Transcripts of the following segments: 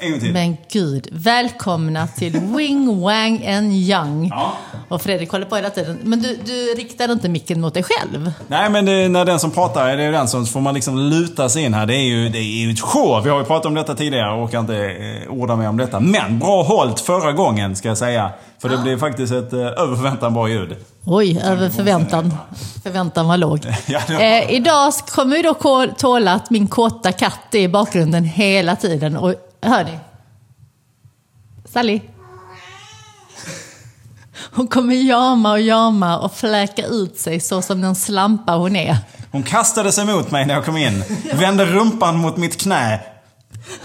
En gång till. Men gud, välkomna till Wing Wang and Young. Ja. Och Fredrik håller på hela tiden. Men du, du riktar inte micken mot dig själv? Nej men det, när den som pratar, det är den som får man liksom luta sig in här. Det är ju, det är ju ett show. Vi har ju pratat om detta tidigare och orkar inte eh, orda mer om detta. Men bra hållt förra gången ska jag säga. För det blev faktiskt ett eh, över förväntan bra ljud. Oj, över förväntan. Förväntan var låg. Ja, det var- Eh, idag sk- kommer vi då ko- tåla att min kåta katt är i bakgrunden hela tiden. Och hör ni? Sally? Hon kommer jama och jama och fläka ut sig så som den slampa hon är. Hon kastade sig mot mig när jag kom in. Vände rumpan mot mitt knä.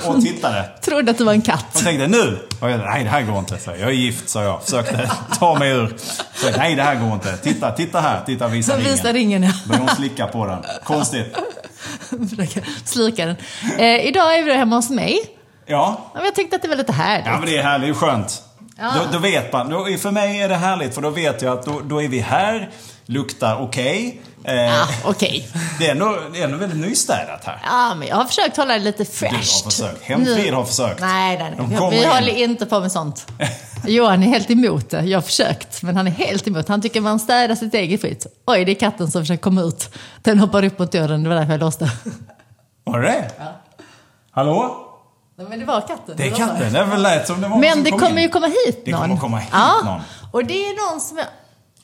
Och tittade. Trodde att du var en katt. Hon tänkte nu! Och jag, nej det här går inte. Så jag, jag är gift sa jag. Försökte ta mig ur. Så, jag, nej det här går inte. Titta, titta här. Titta visa Så ringen. visar ringen. ja. Började hon slicka på den. Konstigt. Försöker slika den. Eh, idag är vi då hemma hos mig. Ja, Ja, men Jag tänkte att det var lite härligt. Ja men det är härligt, det är skönt. Ja. Då, då vet man. Då, för mig är det härligt för då vet jag att då, då är vi här, luktar okej. Eh, Ah, Okej. Det är ändå, det är ändå väldigt nystädat här. Ja, men jag har försökt hålla det lite Du fräscht. har försökt. Hemfrid har försökt. Nej, nej, De nej. kommer Vi in. håller inte på med sånt. Johan är helt emot det. Jag har försökt, men han är helt emot. Han tycker man städar sitt eget skit. Oj, det är katten som försöker komma ut. Den hoppar upp mot dörren, det var därför jag låste. Var det det? Hallå? Nej, Men det var katten. Det är var bara- katten. Det väl lät som det var någon Men som det kom kommer in. ju komma hit Det någon. kommer komma hit ja. någon. Och det är någon som jag...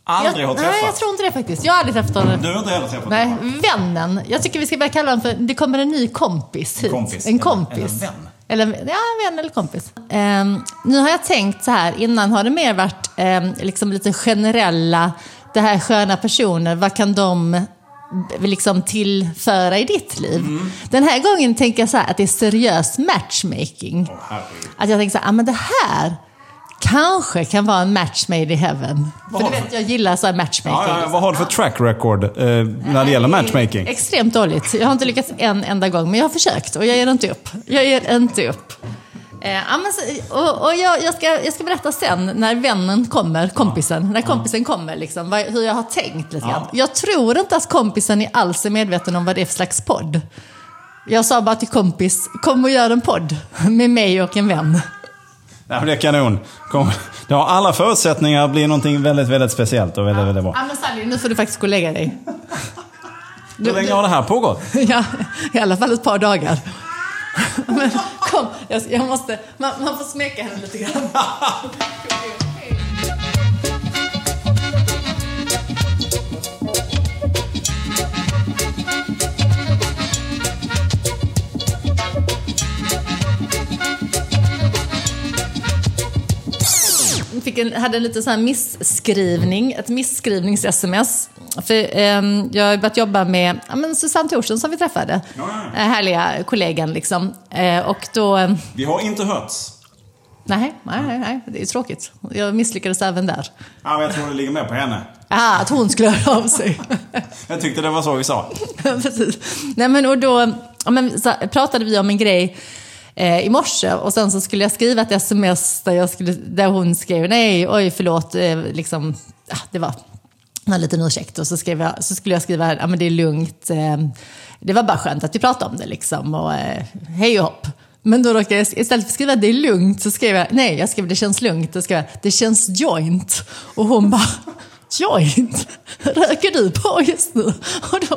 Aldrig jag... har Nej, träffat. jag tror inte det faktiskt. Jag har aldrig träffat honom. Du har inte heller träffat Nej, någon. vännen. Jag tycker vi ska börja kalla honom för, det kommer en ny kompis hit. kompis. En Eller- kompis. eller vän. Eller ja, en vän eller kompis. Ehm, nu har jag tänkt så här, innan har det mer varit ehm, liksom lite generella, det här är sköna personer, vad kan de b- liksom tillföra i ditt liv? Mm. Den här gången tänker jag så här att det är seriös matchmaking. Åh, herregud. Att jag tänker så här, ah, men det här kanske kan vara en match made in heaven. För du har- vet, jag gillar så här matchmaking. Ja, ja, ja, vad har du för track record eh, när det gäller matchmaking? Extremt dåligt. Jag har inte lyckats en enda gång, men jag har försökt och jag ger inte upp. Jag ger inte upp. Eh, ja, men så, och, och jag, jag, ska, jag ska berätta sen när vännen kommer, kompisen, när kompisen kommer, liksom, vad, hur jag har tänkt lite grann. Jag tror inte att kompisen är alls är medveten om vad det är för slags podd. Jag sa bara till kompis, kom och gör en podd med mig och en vän. Nej, men det är kanon. Kom. Det har alla förutsättningar att bli någonting väldigt, väldigt speciellt och väldigt, väldigt bra. Ja, men Sally, nu får du faktiskt gå och lägga dig. Hur länge har det här pågått? Ja, i alla fall ett par dagar. Men kom, jag, jag måste, man, man får smeka henne lite grann. fick en, hade en liten sån här misskrivning, ett misskrivnings-sms. För ehm, jag har ju börjat jobba med ja, men Susanne Thorsson som vi träffade. Ja, ja. Eh, härliga kollegan liksom. Eh, och då... eh, Vi har inte hörts. Nej, nej, nej, nej, det är tråkigt. Jag misslyckades även där. Ja, men jag tror det ligger mer på henne. Ah, att hon skulle höra av sig. Jag tyckte det var så vi sa. Precis. Nej, men, och då ja, men, så, pratade vi om en grej eh, i morse och sen så skulle jag skriva ett sms där, jag skulle, där hon skrev nej, oj förlåt, eh, liksom, ja, det var en liten ursäkt. Och så, skrev jag, så skulle jag skriva, ja men det är lugnt, eh, det var bara skönt att vi pratade om det liksom och eh, hej och hopp. Men då råkade jag, istället för att skriva det är lugnt så skrev jag, nej jag skrev det känns lugnt, då skrev jag det känns joint. Och hon bara, joint röker du på just nu? Och då,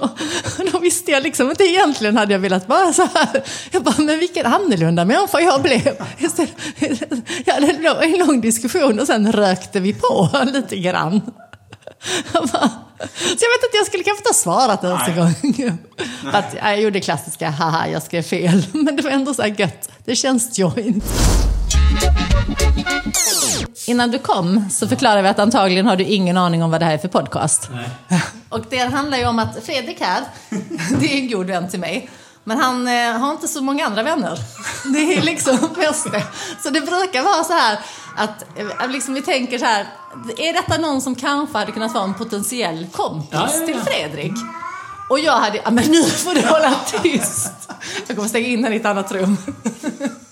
och då visste jag liksom inte egentligen hade jag velat bara så här. Jag bara, men vilken annorlunda människa jag blev. Istället, jag hade en lång- en lång diskussion och sen rökte vi på lite grann. Jag bara, Så jag vet inte, jag skulle kanske inte ha svarat ens en gång. För att jag gjorde klassiska, haha, jag skrev fel. Men det var ändå så här gött. Det känns joint. Innan du kom så förklarade vi att antagligen har du ingen aning om vad det här är för podcast. Och det handlar ju om att Fredrik här, det är en god vän till mig. Men han eh, har inte så många andra vänner. Det är liksom bäst det. Så det brukar vara så här att eh, liksom vi tänker så här. Är detta någon som kanske hade kunnat vara en potentiell kompis Ja, ja, ja. till Fredrik? Och jag hade, ja men nu får du hålla tyst. Jag kommer stänga in henne i ett annat rum.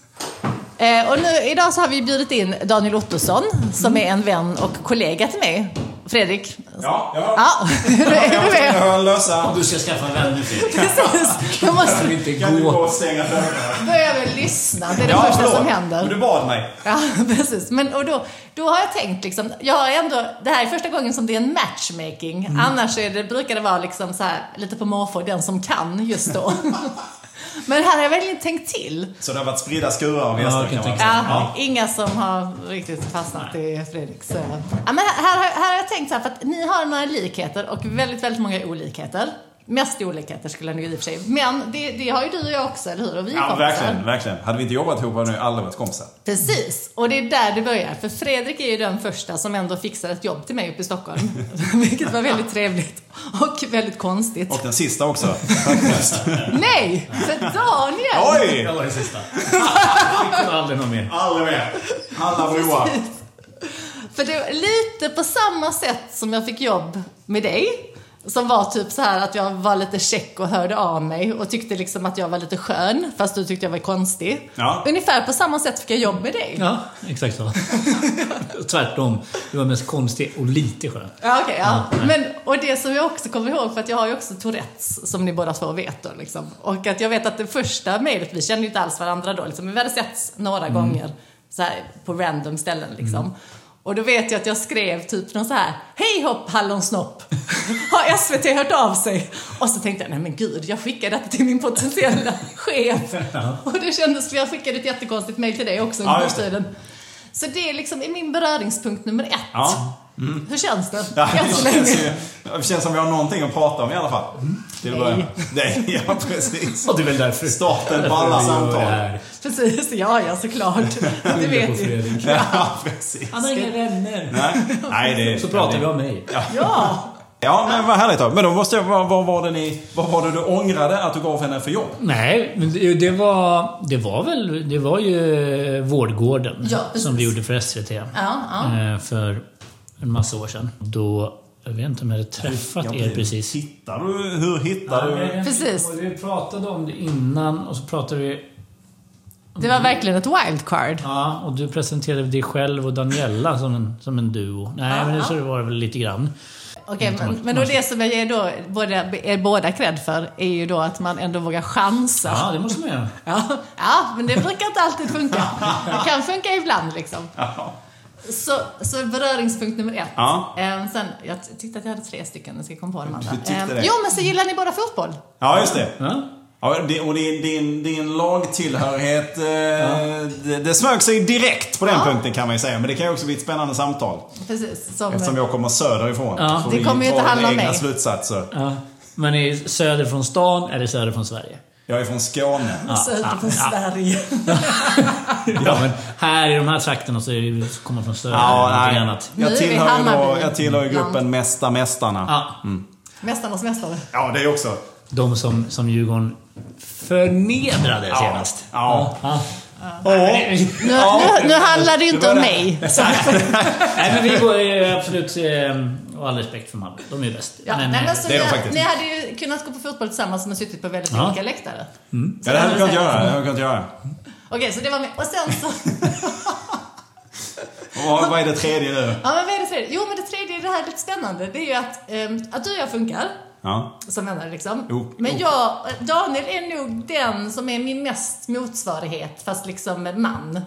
Eh, och nu, Mm. idag så har vi bjudit in Daniel Ottosson som är en vän och kollega till mig. Fredrik, Ja, jag hör. Ja, då är du Jag med. hör lösa. Du ska skaffa en vän nu Fredrik. Precis. Då måste Kan vi inte Kan du gå gå. och stänga dörren? börja med att lyssna. Det är det Ja, första som förlåt. Men händer. Du bad mig. Ja, precis. Men, och då, då har jag tänkt liksom, jag har ändå, det här är första gången som det är en matchmaking. Mm. Annars är det, brukar det vara liksom så här, lite på måfå, den som kan just då. Men här har jag verkligen tänkt till. Så det har varit spridda skurar av Ja, gäster jag kan kan man tänka säga. Ja, Inga som har riktigt fastnat i Fredrik. Så. Ja, men här, här, här har jag tänkt så här, för att ni har några likheter och väldigt, väldigt många olikheter. Mest olikheter skulle jag nog i och för sig. Men det, det har ju du och jag också, eller hur? Och vi är Ja, kompisar. verkligen, verkligen. Hade vi inte jobbat ihop hade vi aldrig varit kompisar. Precis, och det är där det börjar. För Fredrik är ju den första som ändå fixar ett jobb till mig uppe i Stockholm. Vilket var väldigt trevligt och väldigt konstigt. Och den sista också. Nej! För Daniel! Oj! Jag var den sista. Det kommer aldrig någon mer. Aldrig mer. Alla broar. För det var lite på samma sätt som jag fick jobb med dig. Som var typ så här att jag var lite check och hörde av mig och tyckte liksom att jag var lite skön fast du tyckte jag var konstig. Ja. Ungefär på samma sätt fick jag jobb med dig. Ja, exakt så. Tvärtom. Du var mest konstig och lite skön. Ja, okej. ja. Ja, Men, och det som jag också kommer ihåg, för att jag har ju också Tourettes, som ni båda två vet då, liksom. Och att jag vet att det första mejlet, vi kände ju inte alls varandra då, liksom. men vi hade setts några Mm. gånger så här, på random ställen liksom. Och då vet jag att jag skrev typ någon så här, hej hopp hallonsnopp, har SVT hört av sig? Och så tänkte jag, nej men gud, jag skickade detta till min potentiella chef. Och det kändes, för jag skickade ett jättekonstigt mejl till dig också Ja, under just det. tiden. Så det är liksom är min beröringspunkt nummer ett. Ja. Hur känns det? Ja, Än så det, känns länge. ju, det känns som vi har någonting att prata om i alla fall. Mm. Till att börja med. Nej, ja precis. Och det är väl därför. Starten på alla därför vi gör samtal. det här. Precis, ja ja såklart. Det Skyller på vet ju. Fredrik. Ja, precis. Han har inga vänner. Nej, nej det... Så pratar vi om mig. Ja, Ja, men vad härligt då. Men då måste jag... Vad, vad var det ni... Vad var det du ångrade att du gav henne för jobb? Nej, men det, det var... Det var väl... Det var ju Vårdgården Ja, precis. som vi gjorde för SVT. ja, ja. eh, För en massa år sedan. Då... Jag vet inte om jag hade träffat er precis. Hittar du... Hur hittar du... Precis. Vi pratade om det innan och så pratade vi... Det var verkligen ett wildcard. Ja, och du presenterade dig själv och Daniela som en, som en duo. Nej, men det så var det väl lite grann. Okej, Mm, men, men då det som jag ger då både, er båda cred för är ju då att man ändå vågar chansa. Ja, det måste man göra. Ja, ja men det brukar inte alltid funka. Det kan funka ibland liksom. Ja. Så, så beröringspunkt nummer ett. Ja. Ehm, sen, jag t- tyckte att jag hade tre stycken, jag ska komma på de andra. Du tyckte Ehm, det? jo, men så gillar ni båda fotboll. Ja, just det. Ja. Ja, det, och din, din, din lagtillhörighet, eh, det, det smög sig direkt på den Ja. punkten kan man ju säga. Men det kan ju också bli ett spännande samtal. Precis, som, Eftersom jag kommer söderifrån. Ja. får Det vi kommer ju dra inte handla våra om egna mig. slutsatser. Ja. Men är söder från stan eller söder från Sverige? Jag är från Skåne. söder från Sverige. Ja, men här i de här trakterna så är det ju så kommer man från söder. Ja, eller någonting nej. annat. Nu är vi i Jag tillhör, ju då, Hammarby. jag tillhör ju gruppen Bland- Mesta Mästarna. Ja, Mästarnas mästare. Ja, det är också. de som, som Djurgården förnedrade senast. Ja. Ja. Nu, nu, nu handlar det ju inte om mig. Så, Nej, men vi går ju absolut... eh, Och all respekt för Malmö. De är ju bäst. ja, nej, men så det är de ni, faktiskt. ni hade ju kunnat gå på fotboll tillsammans men suttit på väldigt Ja. olika läktare. Ja, det hade jag kunnat göra. Det hade jag kunnat göra. Okej, så det var med. Och sen så... Och vad, vad är det tredje nu? Ja, men vad är det tredje? Jo, men det tredje, det här är lite spännande. Det är ju att, ehm, att du och jag funkar Ja. som vänner liksom. Jo, men jo. jag, Daniel är nog den som är min mest motsvarighet, fast liksom man.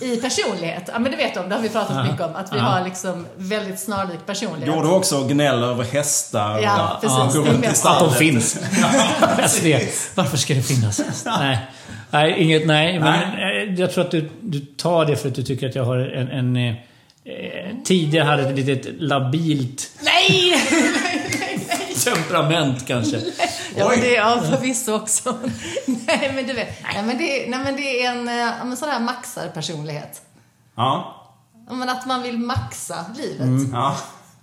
I personlighet. Ja, men det vet de, det har vi pratat mycket om. Att vi Ja. har liksom väldigt snarlik personlighet. Går du också och gnäller över hästar? Ja, och, precis. Går Det är runt i mest- Att de stallet? finns. Alltså det, varför ska det finnas? Nej, nej inget nej. Men eh, jag tror att du, du tar det för att du tycker att jag har en... en eh, eh, tidigare hade ett litet labilt Nej! temperament kanske. Ja, Oj. men det är ja, förvisso också. nej, men du vet. Nej, men det, är- nej, men det är en eh, ja, men sån här maxarpersonlighet. Ja. Ja, Men att man vill maxa livet. Ja.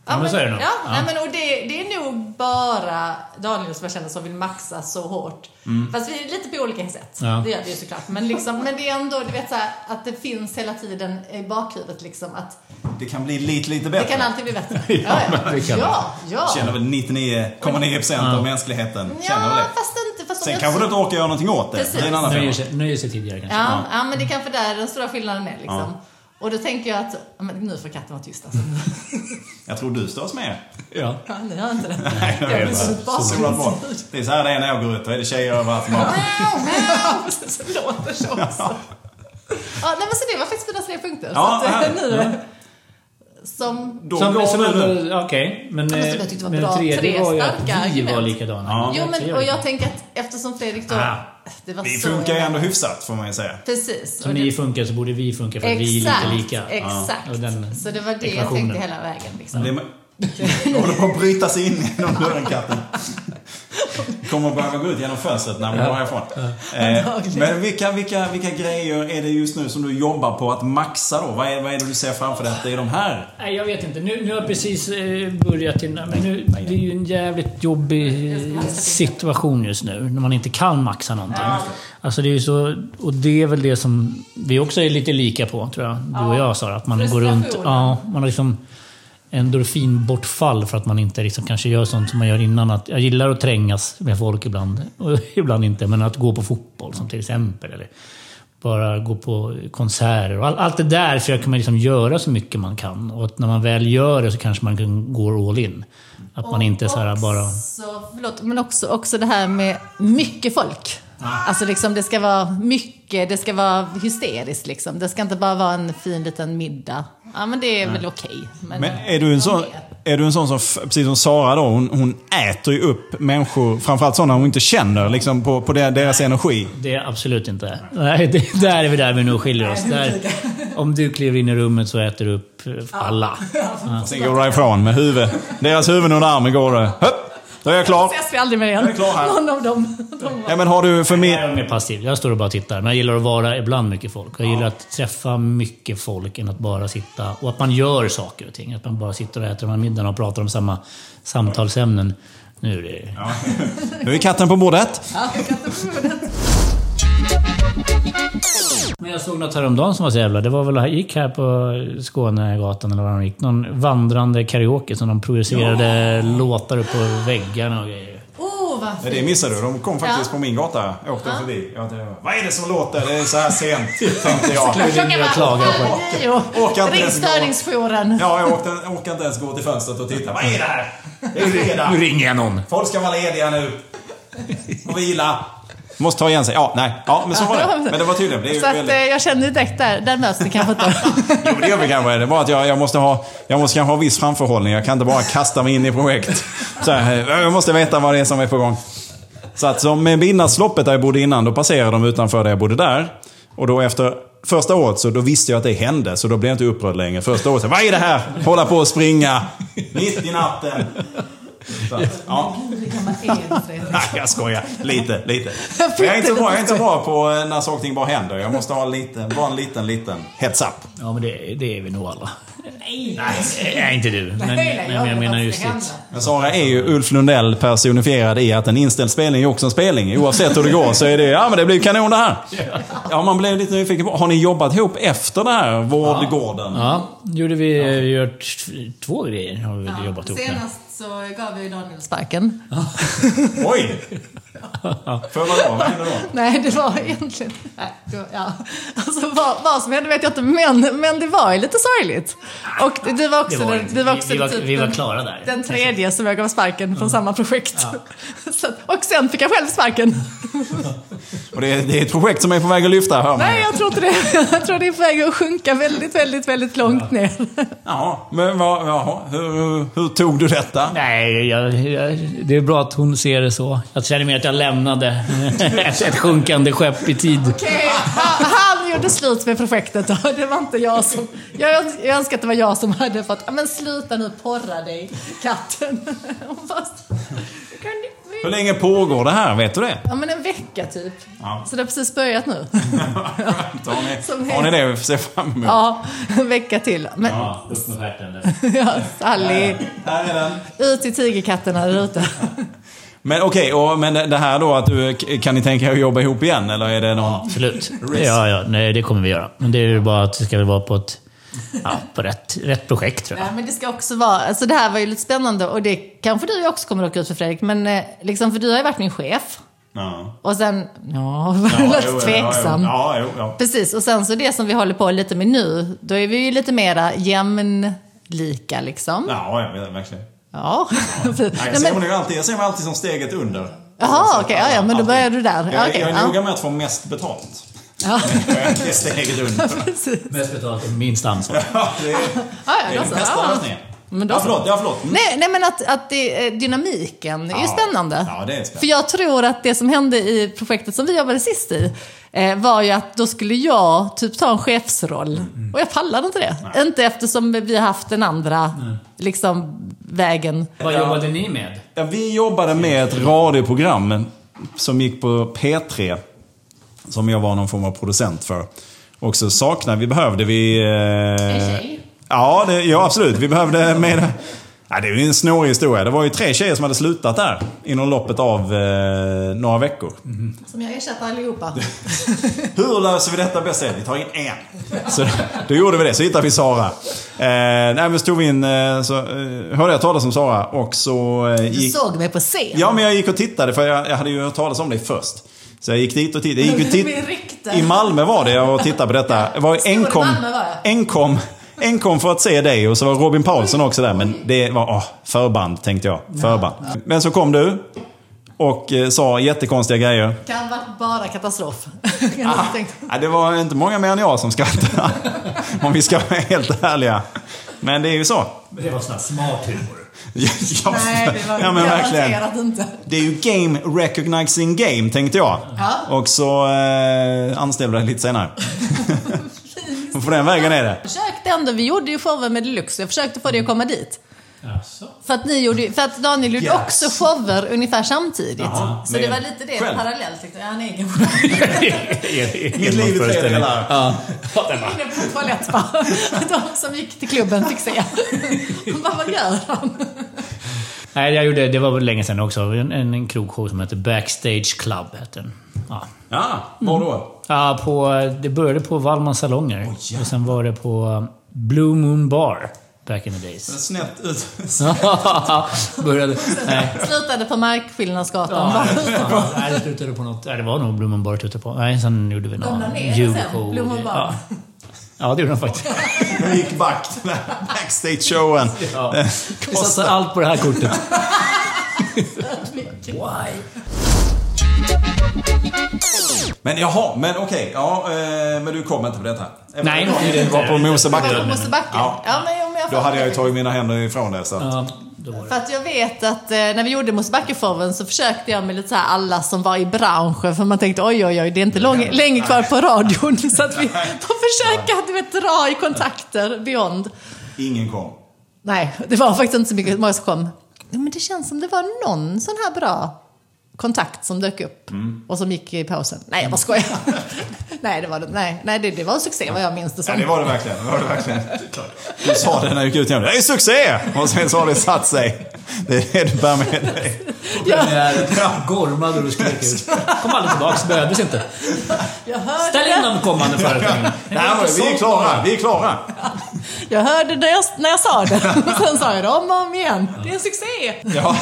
men så är det nog. ja, Mm. Ja. Nej, men, och det, det är nog bara Daniel som jag känner som vill maxa så hårt. Fast vi är lite på olika sätt. Mm. Ja. Det gör vi ju såklart. Men, liksom, men det är ändå, du vet så här, att det finns hela tiden i bakhuvudet liksom att Det kan bli lite, lite det bättre. kan alltid bli bättre. ja, ja. det kan det. ja, ja. Känner väl 99,9% av mänskligheten. Känner väl ja det. fast inte... Fast om Sen jag- kanske du inte orkar göra någonting åt det. Precis. Det är en annan Nöjer femma. sig, nöjer sig tidigare kanske. Ja, ja. men det är kanske där den stora skillnaden är liksom. Och då tänker jag att, ja, men nu får katten vara tyst alltså. Mm. Jag tror du störs med. Ja. Ja, den gör inte det. Nej, jag blir vet. så Så bra, bra. vansinnigt. Det är så här det är när jag går ut. Då är det tjejer överallt. som bara- Så det låter så också. Ja, nej, men så det var faktiskt mina tre punkter. Ja, så att, eh, härligt. nu är det som... Då Som, som, går du nu. ändå- Okej, men, men eh, som jag tyckte var men bra. den tredje Tre var ju starka att vi var argument. likadana. Ja. Jo, men och jag Trevligt. tänker att eftersom Fredrik då... Ah. Det var Vi så funkar ju jävla- ändå hyfsat, får man ju säga. Precis. Som och det- ni funkar så borde vi funka för att vi är Exakt, lite lika. Exakt. Ja, och den så det var det jag ekvationen. tänkte hela vägen. Liksom. Det är- håller på att bryta sig in genom dörren, katten. Kommer att behöva gå ut genom fönstret när man går härifrån. Eh, Men vilka, vilka, vilka grejer är det just nu som du jobbar på att maxa då? Vad är, vad är det du ser framför dig att det är de här? Nej, jag vet inte. Nu, nu har jag precis eh, börjat till, men nu, Det är ju en jävligt jobbig eh, situation just nu. När man inte kan maxa någonting. Alltså det är ju så... Och det är väl det som vi också är lite lika på, tror jag. Du och jag Sara. Att man går runt... Ja, man har liksom endorfinbortfall för att man inte liksom kanske gör sånt som man gör innan. Att jag gillar att trängas med folk ibland, och ibland inte. Men att gå på fotboll som till exempel. Eller bara gå på konserter. Och all, allt det där försöker man liksom göra så mycket man kan. Och att när man väl gör det så kanske man kan går all in. Att man inte så här bara... Också, förlåt, men också, också det här med mycket folk. Alltså liksom, det ska vara mycket, det ska vara hysteriskt liksom. Det ska inte bara vara en fin liten middag. Ja men det är väl okej. Men är du en sån, är du en sån som, f- precis som Sara då, hon, hon äter ju upp människor, framförallt sådana hon inte känner, liksom på, på det- deras energi. Det är absolut inte. Nej, det, där är vi där vi nog skiljer oss. Där, om du kliver in i rummet så äter du upp alla. Sen går du därifrån med huvud. Deras huvud under armen går det. Höpp! Då är jag klar. Ses vi aldrig mer igen? Jag är klar här. Någon av dem. De var... Ja, men har du för Jag mer... är mer passiv. Jag står och bara tittar. Men jag gillar att vara ibland mycket folk. Jag gillar att träffa mycket folk än att bara sitta... Och att man gör saker och ting. Att man bara sitter och äter de här middagarna och pratar om samma samtalsämnen. Nu är det... Nu är katten på bordet. Men jag såg något häromdagen som var så jävla... Det var väl, gick här på Skånegatan eller var de gick. Någon vandrande karaoke som de projicerade låtar upp på väggarna och grejer. Oh, vad Ja, det missade du. De kom faktiskt Ja. på min gata. Åkte förbi. Jag tänkte, Vad är det som låter? Det är så här sent, tänkte jag. Klockan var klagar på. Orkar var inte Ring ens gå. störningsjouren. Ja, jag orkade, orkade inte ens gå till fönstret och titta. Vad är det här? Det är fredag. ringer jag någon. Folk ska vara lediga nu. Och vila. Måste ta igen sig. Ja, nej. Ja, men så var det. Men det var tydligen. Det är ju Så att, väldigt... eh, jag kände ju direkt där, där möts ni kanske inte. Jo, men det gör vi kanske. Det var att jag, jag måste ha, jag måste kanske ha viss framförhållning. Jag kan inte bara kasta mig in i projekt. Så här, eh, jag måste veta vad det är som är på gång. Så att som med Midnattsloppet där jag bodde innan, då passerade de utanför där jag bodde där. Och då efter första året så då visste jag att det hände, så då blev jag inte upprörd längre. Första året så vad är det här? Hålla på och springa. Mitt i natten. Så att, ja. Nej, jag skojar. Lite, lite. Men Jag är inte så bra, jag är inte så bra på eh, när saker och ting bara händer. Jag måste ha en liten, bara en liten, liten heads up. Ja, men det, det är vi nog alla. Nej, Nej, inte du. Men, men jag menar just det. Men Sara är ju Ulf Lundell personifierad i att en inställd spelning är också en spelning. Oavsett hur det går så är det, ja men det blir kanon det här. Ja, man blev lite nyfiken på, har ni jobbat ihop efter det här, Vårdgården? Ja, gjorde vi, vi har gjort t- två grejer har vi väl jobbat ihop med. Senast så gav jag ju Daniel sparken. Oj! För vad då? Vad hände då? Nej, det var egentligen... Nej, det var, ja. alltså, vad, vad som hände vet jag inte, men, men det var ju lite sorgligt. Och det- det var också, Det var den, inte. det var Vi- också vi var- typ vi var den- klara Mm. där. Den tredje som jag gav sparken från samma projekt. Så, att- och sen fick jag själv sparken. Och det, är, det är ett projekt som är på väg att lyfta, hör man. Nej, jag tror inte det. Jag tror det är på väg att sjunka väldigt, väldigt, väldigt långt ner. Jaha, men vad, jaha, hur, hur, hur tog du detta? Nej, jag, jag, det är bra att hon ser det så. Jag känner mer att jag lämnade ett, ett sjunkande skepp i tid. Okej, han, han gjorde slut med projektet då. Det var inte jag som... Jag, öns- jag önskar att det var jag som hade fått... "Ja, Men sluta nu porra dig, katten. Hon bara, "Du kan inte- Hur länge pågår det här? Vet du det? Ja men en vecka typ. Ja. Så det har precis börjat nu. Har Som ni, har ni det att se fram emot? Ja, en vecka till. Men Ja, upp med stjärten. ja, Sally, Här är den. ut till tigerkatterna där ute. Men okej, och- men det det här då att du, kan ni tänka er att jobba ihop igen? Eller är det någon... Absolut. Ja, ja, nej, det kommer vi göra. Men det är ju bara att det ska väl vara på ett... Ja, på rätt, rätt projekt tror jag. Ja, men det ska också vara, alltså det här var ju lite spännande och det kanske du också kommer att åka ut för Fredrik, men eh, liksom, för du har ju varit min chef. Ja. Och sen, ja, Ja, lät jo, ja, tveksam. jo. Ja, jo, ja. Precis, och sen så det som vi håller på lite med nu, då är vi ju lite mera jämlika liksom. Ja, jag vet verkligen. Ja. Nej, Nej, jag, men- ser mig ju alltid, jag ser mig alltid som steget under. Jaha, Så att okej, alla- ja, ja, men då alltid- börjar du där. Jag, Okej, jag är ja. noga med att få mest betalt. Ja. Jag är alltid steget under. Precis. Mest betalt och minst ansvar. Ja, det är, Ja, ja, det är då den så. bästa Ja. lösningen. Men då ja, så. förlåt. Ja, förlåt. Mm. Nej, nej, men att, att det, eh, dynamiken är ju Ja. spännande. Ja, det är spännande. För jag tror att det som hände i projektet som vi jobbade sist i eh, var ju att då skulle jag typ ta en chefsroll. Mm, Och jag pallade inte det. Inte eftersom vi har haft den andra liksom, vägen. Vad jobbade ni med? Ja, vi jobbade med ett radioprogram som gick på P3. Som jag var någon form av producent för. Och så saknade vi, behövde vi... Eh, tjej? ja, det, ja, absolut. Vi behövde med... Ja, det är ju en snårig historia. Det var ju tre tjejer som hade slutat där inom loppet av eh, några veckor. Som jag ersätter allihopa. Hur löser vi detta bäst? Vi tar in en. Så, då gjorde vi det, så hittade vi Sara. Eh, nej, men så tog vi in, eh, så, eh, hörde jag talas om Sara och så eh, Du gick... såg mig på scen. Ja, men jag gick och tittade för jag, jag hade ju hört talas om dig först. Så jag gick dit och tittade. Jag gick och Med rykte. I Malmö var det jag och tittade på detta. Jag var Stor i enkom, Malmö var jag. enkom, enkom för att se dig och så var Robin Paulsson också där. Men det var åh, förband tänkte jag. Förband. Men så kom du och eh, sa jättekonstiga grejer. Kan varit bara katastrof. Ah. Ja, det var inte många mer än jag som skrattade. Om vi ska vara helt ärliga. Men det är ju så. Det var sån här smart humor. Ja, ja, men verkligen. inte. Det är ju game recognizing game, tänkte jag. Ja. Och så eh, anställde jag lite senare. Och på den vägen är det. försökte ändå, vi gjorde ju shower med Deluxe, jag försökte få dig att komma dit. Jaså? För att, ni gjorde, ju- för att Daniel gjorde Yes. också shower ungefär samtidigt. Jaha, så med- det var lite det själv. parallellt. Liksom. Jag är en egen Mitt liv i tre delar. Ja. inne på Ah. toalett bara. De som gick till klubben fick se. Hon bara, vad gör han? Nej, jag gjorde, det var väl länge sedan också. En, en, en krogshow som hette Backstage Club. Hette den. Ja. Ja, var då? Ja, på, det började på Wallmans salonger. och sen var det på uh, Blue Moon Bar. Back in the days. Snett ut. började... Nej. Slutade på Markskillnadsgatan. Ja, Bara, nej, det slutade på något. Nej, det var nog Blomman Bar det slutade på. Nej, sen gjorde vi någon la ner det julshow. sen, Blomman Bar. Ja. ja, det gjorde de faktiskt. Jag gick vakt den här backstage-showen. Ja. Vi satsar allt på det här kortet. Why? Men jaha, men okej. Ja, eh, men du kom inte på detta? Även Nej, om det är det du inte. var på Mosebacke. på Mosebacke. Ja. Ja. men om jag Då hade jag ju tagit mina händer ifrån det. Så. att- Ja, då var det. För att jag vet att eh, när vi gjorde Mosebackeshowen så försökte jag med lite så här alla som var i branschen för man tänkte oj oj oj det är inte lång, länge kvar på radion så att vi får försöka du vet, dra i kontakter beyond. Ingen kom. Nej, det var faktiskt inte så mycket många som kom. Ja, Men det känns som det var någon sån här bra kontakt som dök upp och som gick i pausen. Nej, jag bara skojar. nej, det var det, nej, nej det, det var en succé vad jag minns det som. Ja, det var det verkligen. Det var det verkligen. Du sa det när jag gick ut igen. Det är succé! Och sen så har det satt sig. Det är det du bär med dig. Ja. När gormade du och skrek ut. Kom aldrig tillbaks, behövdes inte. Jag hörde Ställ in de kommande föreställningarna. Nej, men vi är klara. Vi är klara. Jag hörde när jag, när jag sa det. Sen sa jag det om och om igen. Det är en succé! Ja.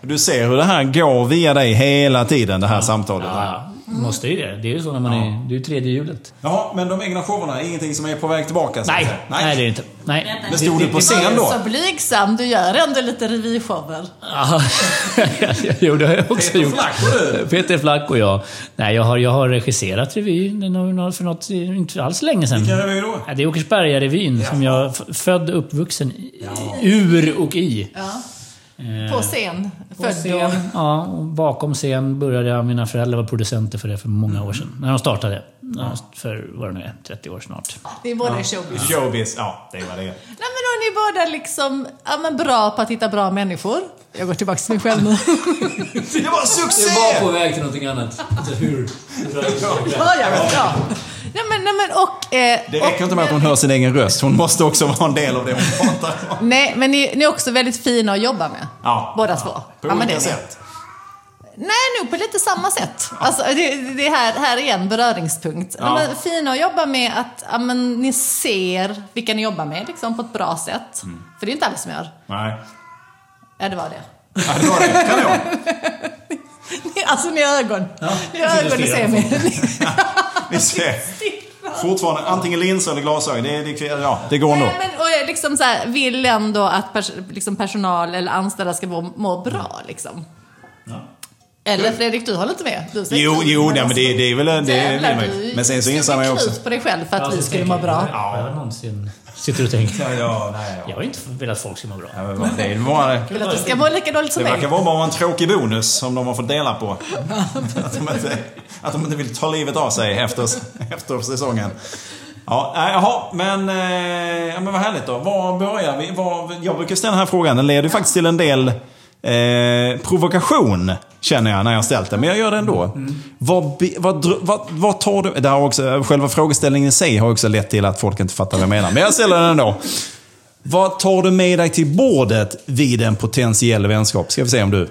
Du ser hur det här går via dig hela tiden, det här samtalet. Ja, måste ju det. Det är ju så när man är... Det är ju tredje hjulet. Ja, men de egna showerna är ingenting som är på väg tillbaka? så att Nej, säga. nej det är det inte. Nej. Men stod du på scen då? Så blygsam, du gör ändå lite revyshower. Ja, jo, det har jag också Peter gjort. Flack och du? Peter Flack och jag. Nej, jag har, jag har regisserat revy Det är nog för något, inte alls länge sedan. Vilken revy då? Ja, det är Åkersberga-revyn som jag f- född och uppvuxen i, ur och i. Ja. På scen. På Född scen, då. Ja, och bakom scen började jag. Mina föräldrar var producenter för det för många år sedan. När de startade. Ja, För vad det nu är, 30 år snart. Ni är båda i showbiz. Showbiz, ja det var det är. Nej men då är ni båda liksom, ja men bra på att hitta bra människor. Jag går tillbaka till mig själv nu. Det var succé! väg till någonting annat. Alltså, Hur? Ja, jag vet, ja. Nej men, nej men och... Eh, Det och- räcker inte med att hon hör sin egen röst. Hon måste också vara en del av det hon pratar om. Nej, men ni, ni är också väldigt fina att jobba med. Ja. Båda två. På men det olika är ni. sätt. Nej, nog på lite samma sätt. Alltså, det, det här, här är en beröringspunkt. Ja. Men fina att jobba med att ja, men, ni ser vilka ni jobbar med liksom, på ett bra sätt. Mm. För det är inte alla som gör. Nej. Ja, det var det. Ja, det var det. Kan jag. Ni- Alltså ni har ögon. ni har jag ögon, ni sitter ser och mig. Vi ser. Fortfarande antingen linser eller glasögon. Det, är- det, ja, det går ändå. Nej, men, och jag liksom så här, vill ändå att pers liksom personal eller anställda ska må, må bra liksom. Eller Fredrik, du håller inte med? Du säger Jo, knut, jo nej, men alltså, det, det är väl en... Det vill jävlar, man du ju. Men sen så inser man ju också... suger knut på dig själv för att Alltså, vi skulle tänker må bra. jag, Ja, jag har någonsin sitter och tänker. Ja, ja, nej, ja. Jag har inte velat att folk ska må bra. Ja, men vad- Det, är bara, Jag vill att du ska må lika dåligt som det mig. verkar vara bara en tråkig bonus som de har fått dela på. Att de inte, att de inte vill ta livet av sig efter, efter säsongen. Ja, nej, jaha, men, eh, ja, men vad härligt då. Var börjar vi? Var, jag brukar ställa den här frågan. Den leder ju faktiskt till en del eh, provokation, känner jag när jag har ställt den. Men jag gör det ändå. Vad, be- vad, dr- vad, vad tar du... Det här har också, själva frågeställningen i sig har också lett till att folk inte fattar vad jag menar. Men jag ställer den ändå. Vad tar du med dig till bordet vid en potentiell vänskap? Ska vi se om du...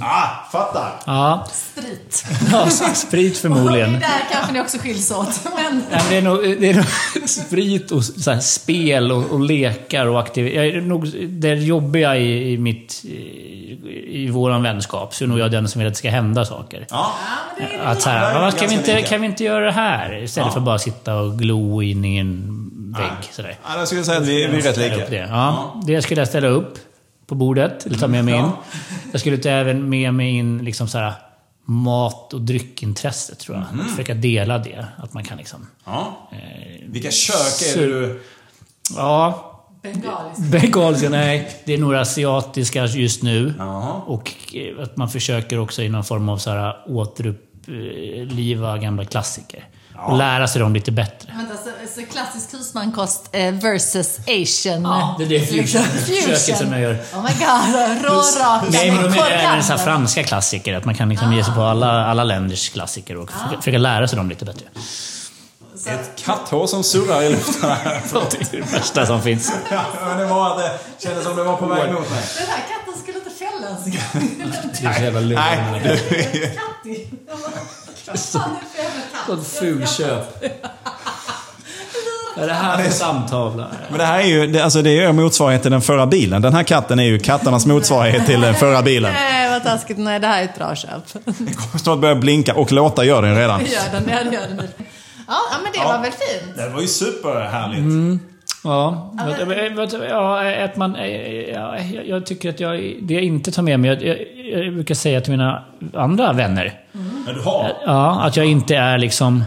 Ah, fattar! Ja, Sprit. ja sprit Och det förmodligen. där kanske ni också skiljs åt. Men Nej, men det, är nog, det är nog sprit och så här, spel och, och lekar och aktiv. Jag är nog det jobbiga i, i mitt... I, i våran vänskap så är nog jag den som vill att det ska hända saker. Ja. Att så Ja, det här, är "Vad, kan, vi ganska inte, lika." kan vi inte göra det här? Istället för bara sitta och glo in i en vägg. Sådär. ja, då skulle jag säga att vi, vi är rätt Ställa upp Det. lika. Ja, det skulle jag ställa upp på bordet, eller ta med mig in. Jag skulle ta även med mig in liksom så här, mat och dryckintresset, tror jag. Försöka dela det. Att man kan liksom... Ja. Vilka kök är det du... Ja, bengaliskt. bengaliska, nej. Det är några asiatiska just nu. Jaha. Och eh, att man försöker också i någon form av så här, återuppliva gamla klassiker. Och lära sig dem lite bättre. Vänta, så, så klassisk husmankost eh, versus asian. Det är det Liksom, fusion- försöket som jag gör. Oh my god, råraka Nej, men de är även så här koriander. franska klassiker. Att man kan liksom ge sig på alla, alla länders klassiker och försöka- försöka lära sig dem lite bättre. Ett katthår som surrar i luften här. Det är det värsta som finns. Ja, men det var att det kändes som det var på väg mot mig. Den här katten skulle inte fällas. Det är så jävla lugnt. Nej, du... Katti. Alltså. Fan, det är fel katt. Sånt fulköp. Vad är det här för samtavla? Men det här är ju, det, alltså det är ju motsvarighet till den förra bilen. Den här katten är ju katternas motsvarighet till den förra bilen. Nej, vad taskigt. Nej, det här är ett bra köp. Den kommer snart börja blinka och låta gör den redan. Det gör den, det gör den. Ja, ja, men det var väl fint? Det var ju superhärligt. Ja, Ja, vad- vad- vad- ja, att man... Ja, jag- jag tycker att jag... Det jag inte tar med mig... Jag, jag, jag brukar säga till mina andra vänner. Men du har... Ja, att jag inte är liksom...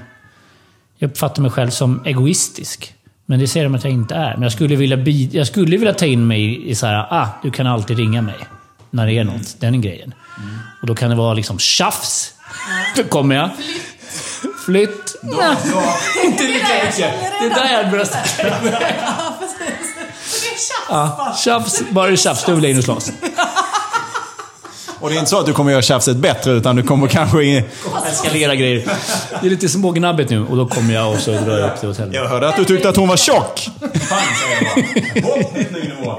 Jag uppfattar mig själv som egoistisk. Men det säger de att jag inte är. Men jag skulle vilja, bi- jag skulle vilja ta in mig i- i så här, ah, du kan alltid ringa mig när det är något. Den grejen. Och då kan det vara liksom tjafs. Då kommer jag. Flytt. Nej, inte lika mycket. Det är där jag börjar sticka Ja, precis. Det är tjafs Ja, Tjafs, bara tjafs. Då vill jag in och slåss. Och det är inte så att du kommer göra tjafset bättre, utan du kommer kanske... In... Eskalera grejer. Det är lite smågnabbigt nu och då kommer jag och så drar jag upp det åt helvete. Jag hörde att du tyckte att hon var tjock. Fan, säger jag bara. Hopp, helt ny nivå.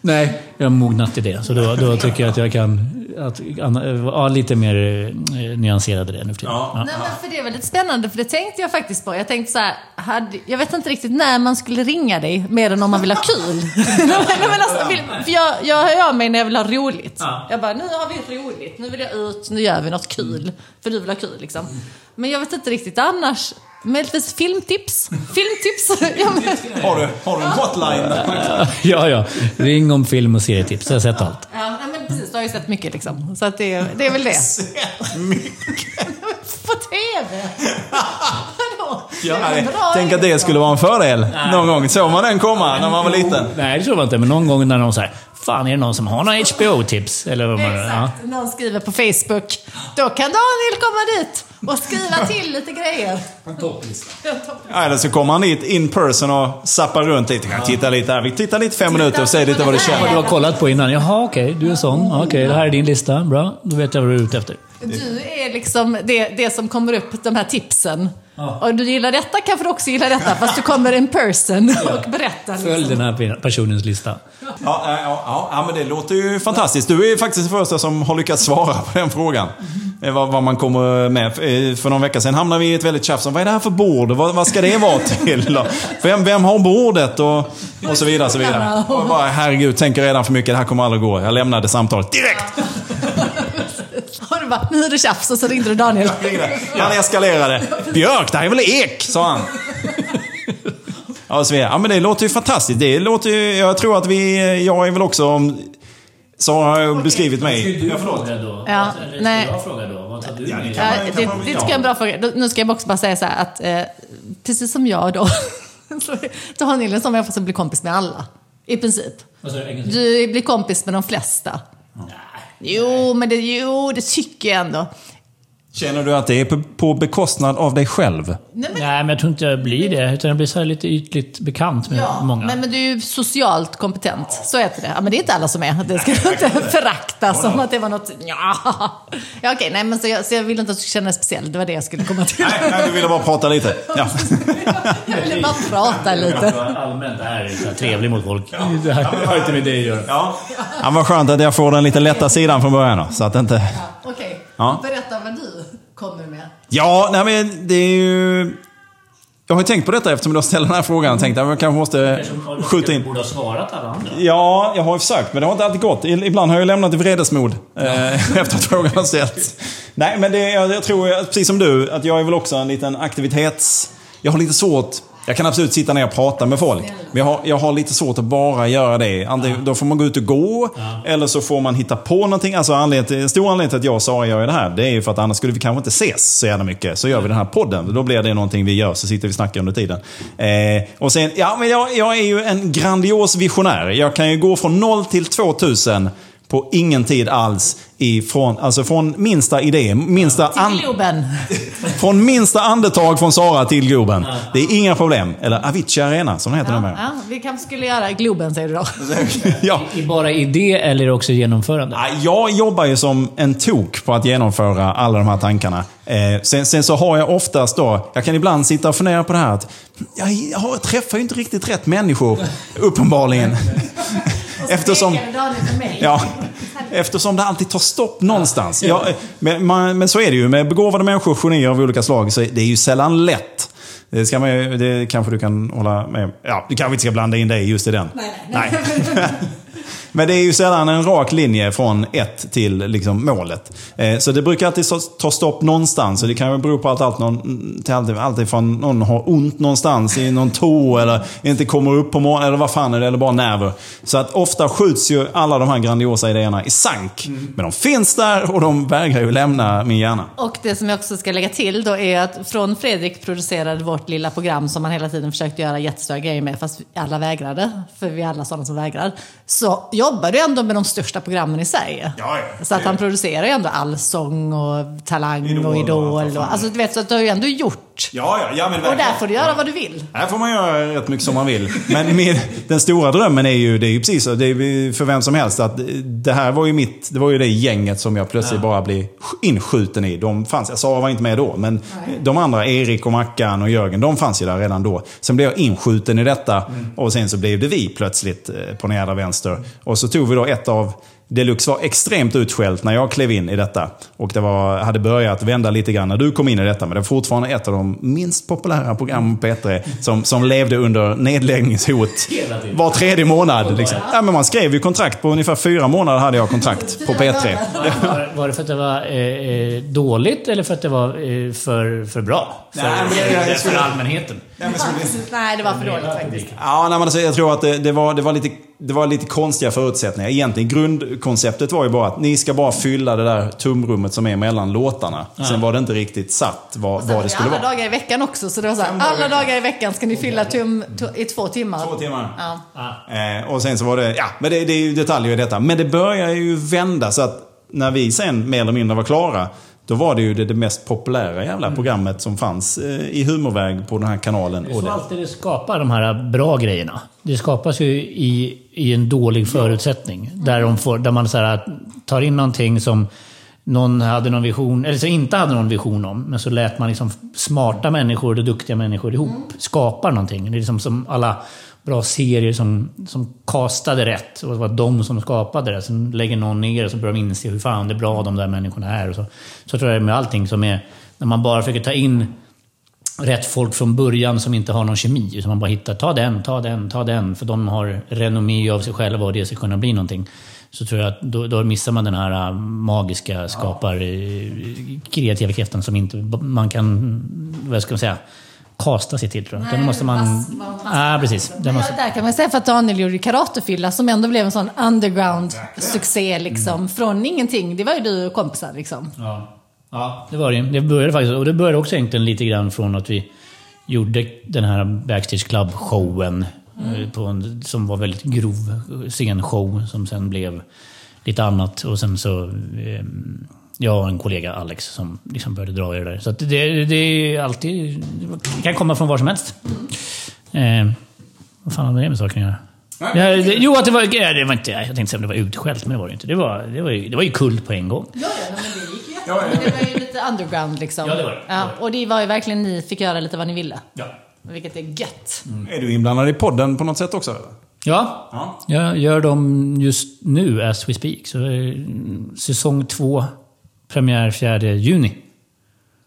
Nej, jag har mognat i det. Så då, då tycker jag att jag kan... Att, an- ja, lite mer eh, nyanserad i det nu för tiden. Ja. Nej, men för det är väldigt spännande, för det tänkte jag faktiskt på. Jag tänkte så här, hade, jag vet inte riktigt när man skulle ringa dig, mer än om man vill ha kul. Nej, men alltså, vill- för jag, jag hör av mig när jag vill ha roligt. Jag bara, nu har vi roligt, nu vill jag ut, nu gör vi något kul. För du vill ha kul liksom. Men jag vet inte riktigt annars. Möjligtvis filmtips. Filmtips. ja, men, Har du, har du en hotline? Ja, ja. Ring om film och serietips. Jag har sett allt. ja, nej, men precis, du har ju sett mycket liksom. Så att det, det är väl det. På TV! Vadå? Det är Nej, en bra Tänk att det skulle vara en fördel någon gång. Såg man den komma när man var liten? Nej, det tror jag inte. Men någon gång när någon säger Fan, är det någon som har några HBO-tips? Eller vad man ja. Exakt, någon skriver på Facebook. Då kan Daniel komma dit och skriva till lite grejer. Ja, Eller så kommer han hit in person och zappar runt lite. Kan titta lite här. Vi tittar lite fem minuter och säger lite vad du Vad du känner. har kollat på innan. Jaha, okej. du är sån. Ja, Okej, det här är din lista. Bra. Då vet jag vad du är ute efter. Du är liksom det, det som kommer upp, de här tipsen. Ja. Och du gillar detta kanske du också gillar detta, fast du kommer in person och berättar. Följ den här personens lista. Ja, eh, ja, ja, ja, men det låter ju fantastiskt. Du är faktiskt den första som har lyckats svara på den frågan. Eh, Vad, vad man kommer med. Eh, För någon vecka sedan hamnade vi i ett väldigt tjafs om vad är det här för bord? Vad, vad ska det vara till? Och Vem, vem har bordet? Och, och så vidare. Så vidare. Och jag bara, herregud, tänker redan för mycket. Det här kommer aldrig gå. Jag lämnade samtalet direkt. Och du bara, nu är det tjafs och så ringde du Daniel. Han eskalerade. Björk, det här är väl ek? Sa han. Ja, och så vidare. ja, men det låter ju fantastiskt. Det låter ju, jag tror att vi, eh, jag är väl också, så har jag beskrivit mig. du fråga då? alltså, Ja, Eller ska nej. jag jag fråga då? Vad tar du Ja, det med? Ja, kan- det, det tycker jag är en bra fråga. Då- Nu ska jag också bara säga så här att eh, precis som jag då, så så har Nilsson som jag får bli kompis med alla. I princip. Du blir kompis med de flesta. Jo, men det, jo, det tycker jag ändå. Känner du att det är på, på bekostnad av dig själv? Nej, men, Nej, men jag tror inte jag blir det. Utan jag blir så här lite ytligt bekant med ja, många. Men, men du är ju socialt kompetent. Så heter det. Ja, men det är inte alla som är. Det ska du inte förakta som att det var något... Ja. ja okej, nej men så jag, så jag vill inte att du ska känna dig speciell. Det var det jag skulle komma till. Nej, nej, du ville bara prata lite. Ja. Jag ville bara prata lite. Alltså, Allmänt är så här trevlig mot folk. Det här har inte med dig att göra. Ja. Ja, vad skönt att jag får den lite lätta sidan från början då, så att inte... Okej, Ja. berätta vad du kommer med. Ja, nej men det är ju... Jag har ju tänkt på detta eftersom du har ställt den här frågan. Tänkt att jag kanske måste skjuta in. borde ha svarat alla andra. Ja, jag har ju försökt, men det har inte alltid gått. I- Ibland har jag lämnat i vredesmod eh, efter att frågan har ställts. Nej, men det, jag, jag tror, att, precis som du, att jag är väl också en liten aktivitets... Jag har lite svårt... Jag kan absolut sitta ner och prata med folk. Men jag har, jag har lite svårt att bara göra det. Antingen, då får man gå ut och gå, eller så får man hitta på någonting. Alltså anledningen, till- en stor anledning till att jag och Sara gör det här, det är ju för att annars skulle vi kanske inte ses så jävla mycket. Så gör vi den här podden. Då blir det någonting vi gör, så sitter vi och snackar under tiden. Eh, och sen, ja men jag, jag är ju en grandios visionär. Jag kan ju gå från 0 till 2000 på ingen tid alls. Ifrån, alltså från minsta idé, minsta... an- Globen. från minsta andetag från Sara till Globen. Det är inga problem. Eller Avicii Arena, som den heter Ja, numera. ja, vi kanske skulle göra Globen säger du då. Ja. Bara idé eller också genomförande? Ja, Jag jobbar ju som en tok på att genomföra alla de här tankarna. Eh, sen, sen så har jag oftast då, jag kan ibland sitta och fundera på det här att jag, har- träffar ju inte riktigt rätt människor, uppenbarligen. Eftersom... Daniel för mig. Ja, eftersom det alltid tar stopp någonstans. Ja, eh, men, man, men så är det ju. Med begåvade människor, genier av olika slag, så är det är ju sällan lätt. Det, ska man, ju- det kanske du kan hålla med om. Ja, du kanske inte ska blanda in dig just i den. nej. Men det är ju sällan en rak linje från ett till liksom målet. Eh, Så det brukar alltid så- ta stopp någonstans. Och det kan ju bero på att allt, någon, till allt, allt ifrån någon har ont någonstans i någon tå eller inte kommer upp på morgonen eller vad fan är det, eller bara nerver. Så att ofta skjuts ju alla de här grandiosa idéerna i sank. Men de finns där och de vägrar ju lämna min hjärna. Och det som jag också ska lägga till då är att från Fredrik producerade vårt lilla program som han hela tiden försökte göra jättestora grejer med fast alla vägrade, för vi är alla sådana som vägrar. Så jobbar du ändå med de största programmen i Sverige. Ja, ja. Så att han producerar ju ändå Allsång och Talang Idol och och allt vad Idol. fan Och, alltså du vet, så att du har ju ändå gjort. Ja, ja, ja men Och där får du göra vad du vill. Här får man göra rätt mycket som man vill. Men min, den stora drömmen är ju, det är ju precis så, det är ju för vem som helst, att det här var ju mitt, det var ju det gänget som jag plötsligt bara blev inskjuten i. De fanns, jag Sara var inte med då, men de andra, Erik och Mackan och Jörgen, de fanns ju där redan då. Sen blev jag inskjuten i detta och sen så blev det vi plötsligt eh, på den jävla vänster. Och så tog vi då ett av Deluxe var extremt utskällt när jag klev in i detta. Och det var, hade börjat vända lite grann när du kom in i detta. Men det är fortfarande ett av de minst populära programmen på P3 som, som levde under nedläggningshot var tredje månad. Liksom. Ja, men man skrev ju kontrakt. På ungefär fyra månader hade jag kontrakt på P3. Var, var det för att det var eh, eh, dåligt eller för att det var eh, för, för bra? För, Nej, men jag- jag för, skulle- för allmänheten? Nej, det var för dåligt faktiskt. Ja, nej, men alltså, jag tror att det, det, var, det, var lite, det var lite konstiga förutsättningar. Egentligen grundkonceptet var ju bara att ni ska bara fylla det där tomrummet som är mellan låtarna. Sen var det inte riktigt satt vad, Sen var vad det det skulle alla vara. dagar i veckan också, så det var så här, alla dagar i veckan ska ni fylla tum, to, i två timmar. Två timmar. Ja. Eh, och sen så var det, ja, men det, det är ju detaljer i detta. Men det börjar ju vända så att när vi sen mer eller mindre var klara, då var det ju det, det mest populära jävla programmet som fanns eh, i humorväg på den här kanalen. Och Så Mm. det. alltid det skapar de här bra grejerna. Det skapas ju i, i en dålig förutsättning. Där, de får, där man så här, tar in någonting som någon hade någon vision, eller så inte hade någon vision om, men så lät man liksom smarta människor och duktiga människor ihop Mm. skapa någonting. Det är liksom som alla bra serier som, som kastade rätt. Och det var de som skapade det. Sen lägger någon ner och så börjar de inse hur fan det är bra de där människorna är. Och så. så tror jag med allting som är, när man bara försöker ta in rätt folk från början som inte har någon kemi. Utan man bara hittar, ta den, ta den, ta den. För de har renommé av sig själva och det ska kunna bli någonting. Så tror jag att då, då missar man den här äh, magiska, skapar, eh, kreativa kraften som inte man kan, vad ska man säga, kasta sig till tror jag. Den måste man... liksom. Ja, precis. Den måste, Ja, där kan man säga för att Daniel gjorde Karatefylla som ändå blev en sån underground-succé liksom. Från ingenting. Det var ju du och kompisar liksom. Ja. ja, det var det. Det började faktiskt, och det började också egentligen lite grann från att vi gjorde den här Backstage Club-showen. eh, På en, som var väldigt grov scenshow som sen blev lite annat. Och sen så... Eh, jag och en kollega, Alex, som liksom började dra i det där. Så att det, det är alltid... Det kan komma från var som helst. Eh, vad fan hade det med saken att göra? Ja, det, jo, att det var... ja, Det var inte, jag tänkte säga att det var utskällt, men det var det ju inte. Det var, det var, ju, det var ju kul på en gång. Ja, ja, men det gick ju Ja, ja. Det var ju lite underground liksom. Ja, det var det. Det var det. och det var ju verkligen ni fick göra lite vad ni ville. Ja. Vilket är gött. Är du inblandad i podden på något sätt också? eller? Ja, Ja. jag gör dem just nu as we speak. Så eh, säsong två, premiär 4 juni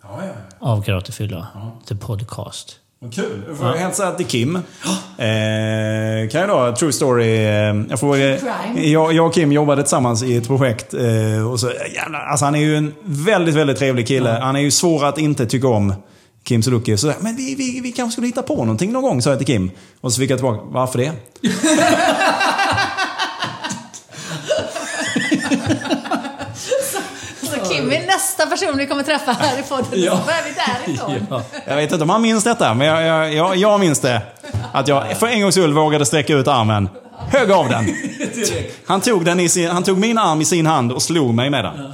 Ja, ja. av Karatefylla, the podcast. Vad kul. Får jag hälsa till Kim. Eh, kan jag då, true story. Eh, jag, får, eh, Crime. jag, jag och Kim jobbade tillsammans i ett projekt. Eh, och så, jävlar, alltså han är ju en väldigt, väldigt trevlig kille. Han är ju svår att inte tycka om. Kim Sulocki. Så men vi, vi, vi kanske skulle hitta på någonting någon gång, sa jag till Kim. Och så fick jag tillbaka, varför det? Så Kim är nästa person vi kommer träffa här i podden. Ja. Så börjar vi därifrån. Jag vet inte om han minns detta, men jag, jag, jag, jag minns det. Att jag för en gångs skull vågade sträcka ut armen. Högg av den. Han tog, den i sin, han tog min arm i sin hand och slog mig med den.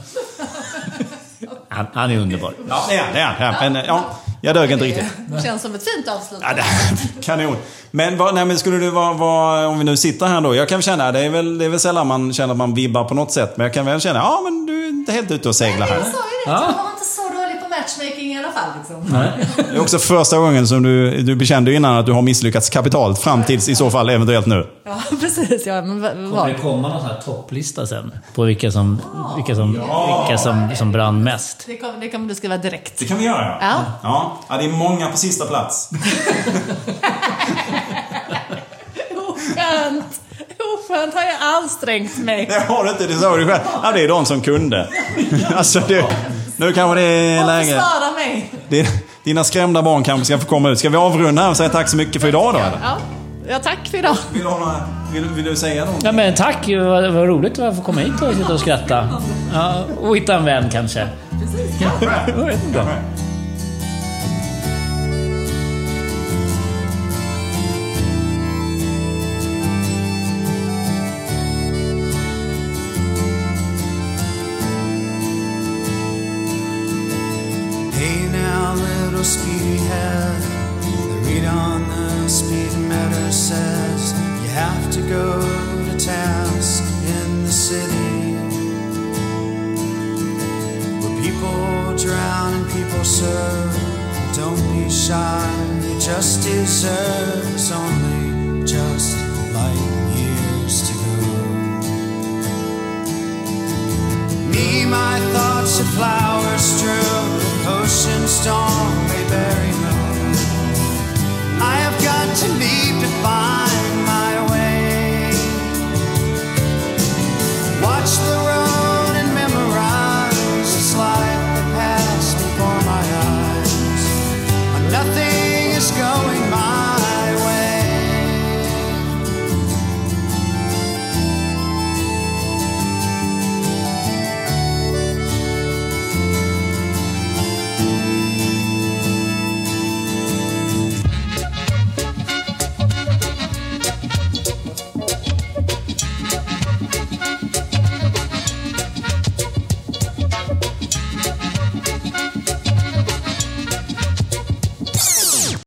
Han, han är underbar. Ja, det är han, det är han. Ja, Men ja, jag dög inte riktigt. Det känns som ett fint avslut. Ja, det, kanon. Men, vad, nej, men skulle du vara, vara, om vi nu sitter här då. Jag kan känna, det är, väl, det är väl sällan man känner att man vibbar på något sätt. Men jag kan väl känna, ja men du är inte helt ute och seglar här. Jag sa ju det, Ja. jag var inte så dålig på matchmaking i alla fall. Liksom. Det är också första gången som du, du bekände ju innan att du har misslyckats kapitalt. Fram tills i så fall eventuellt nu. Ja, precis. Ja, men vad- vad? Det kommer någon sån här topplista sen på vilka som, vilka som, vilka som, som brann mest. Det kommer, det kommer du skriva direkt. Det kan vi göra. Ja. Ja, ja det är många på sista plats. Oskönt! Oskönt har jag ansträngt mig. Det har du inte, det sa du själv. Ja, det är de som kunde. Alltså, det, nu kanske det är Och läge. försvara mig. Det, dina skrämda barn kanske ska få komma ut. Ska vi avrunda här och säga tack så mycket för idag då? Eller? Ja. ja, tack för idag. Vill, du ha några, vill, vill du säga något? Ja, men tack, vad, vad roligt att få komma hit och sitta och skratta. Ja, och hitta en vän kanske. Jag vet inte. Hey now, little speedhead. The read on the speed meter says you have to go to task in the city where people drown and people serve. Don't be shy, you just deserves only just light years to go. Me, my thoughts of flowers strewn, with ocean storm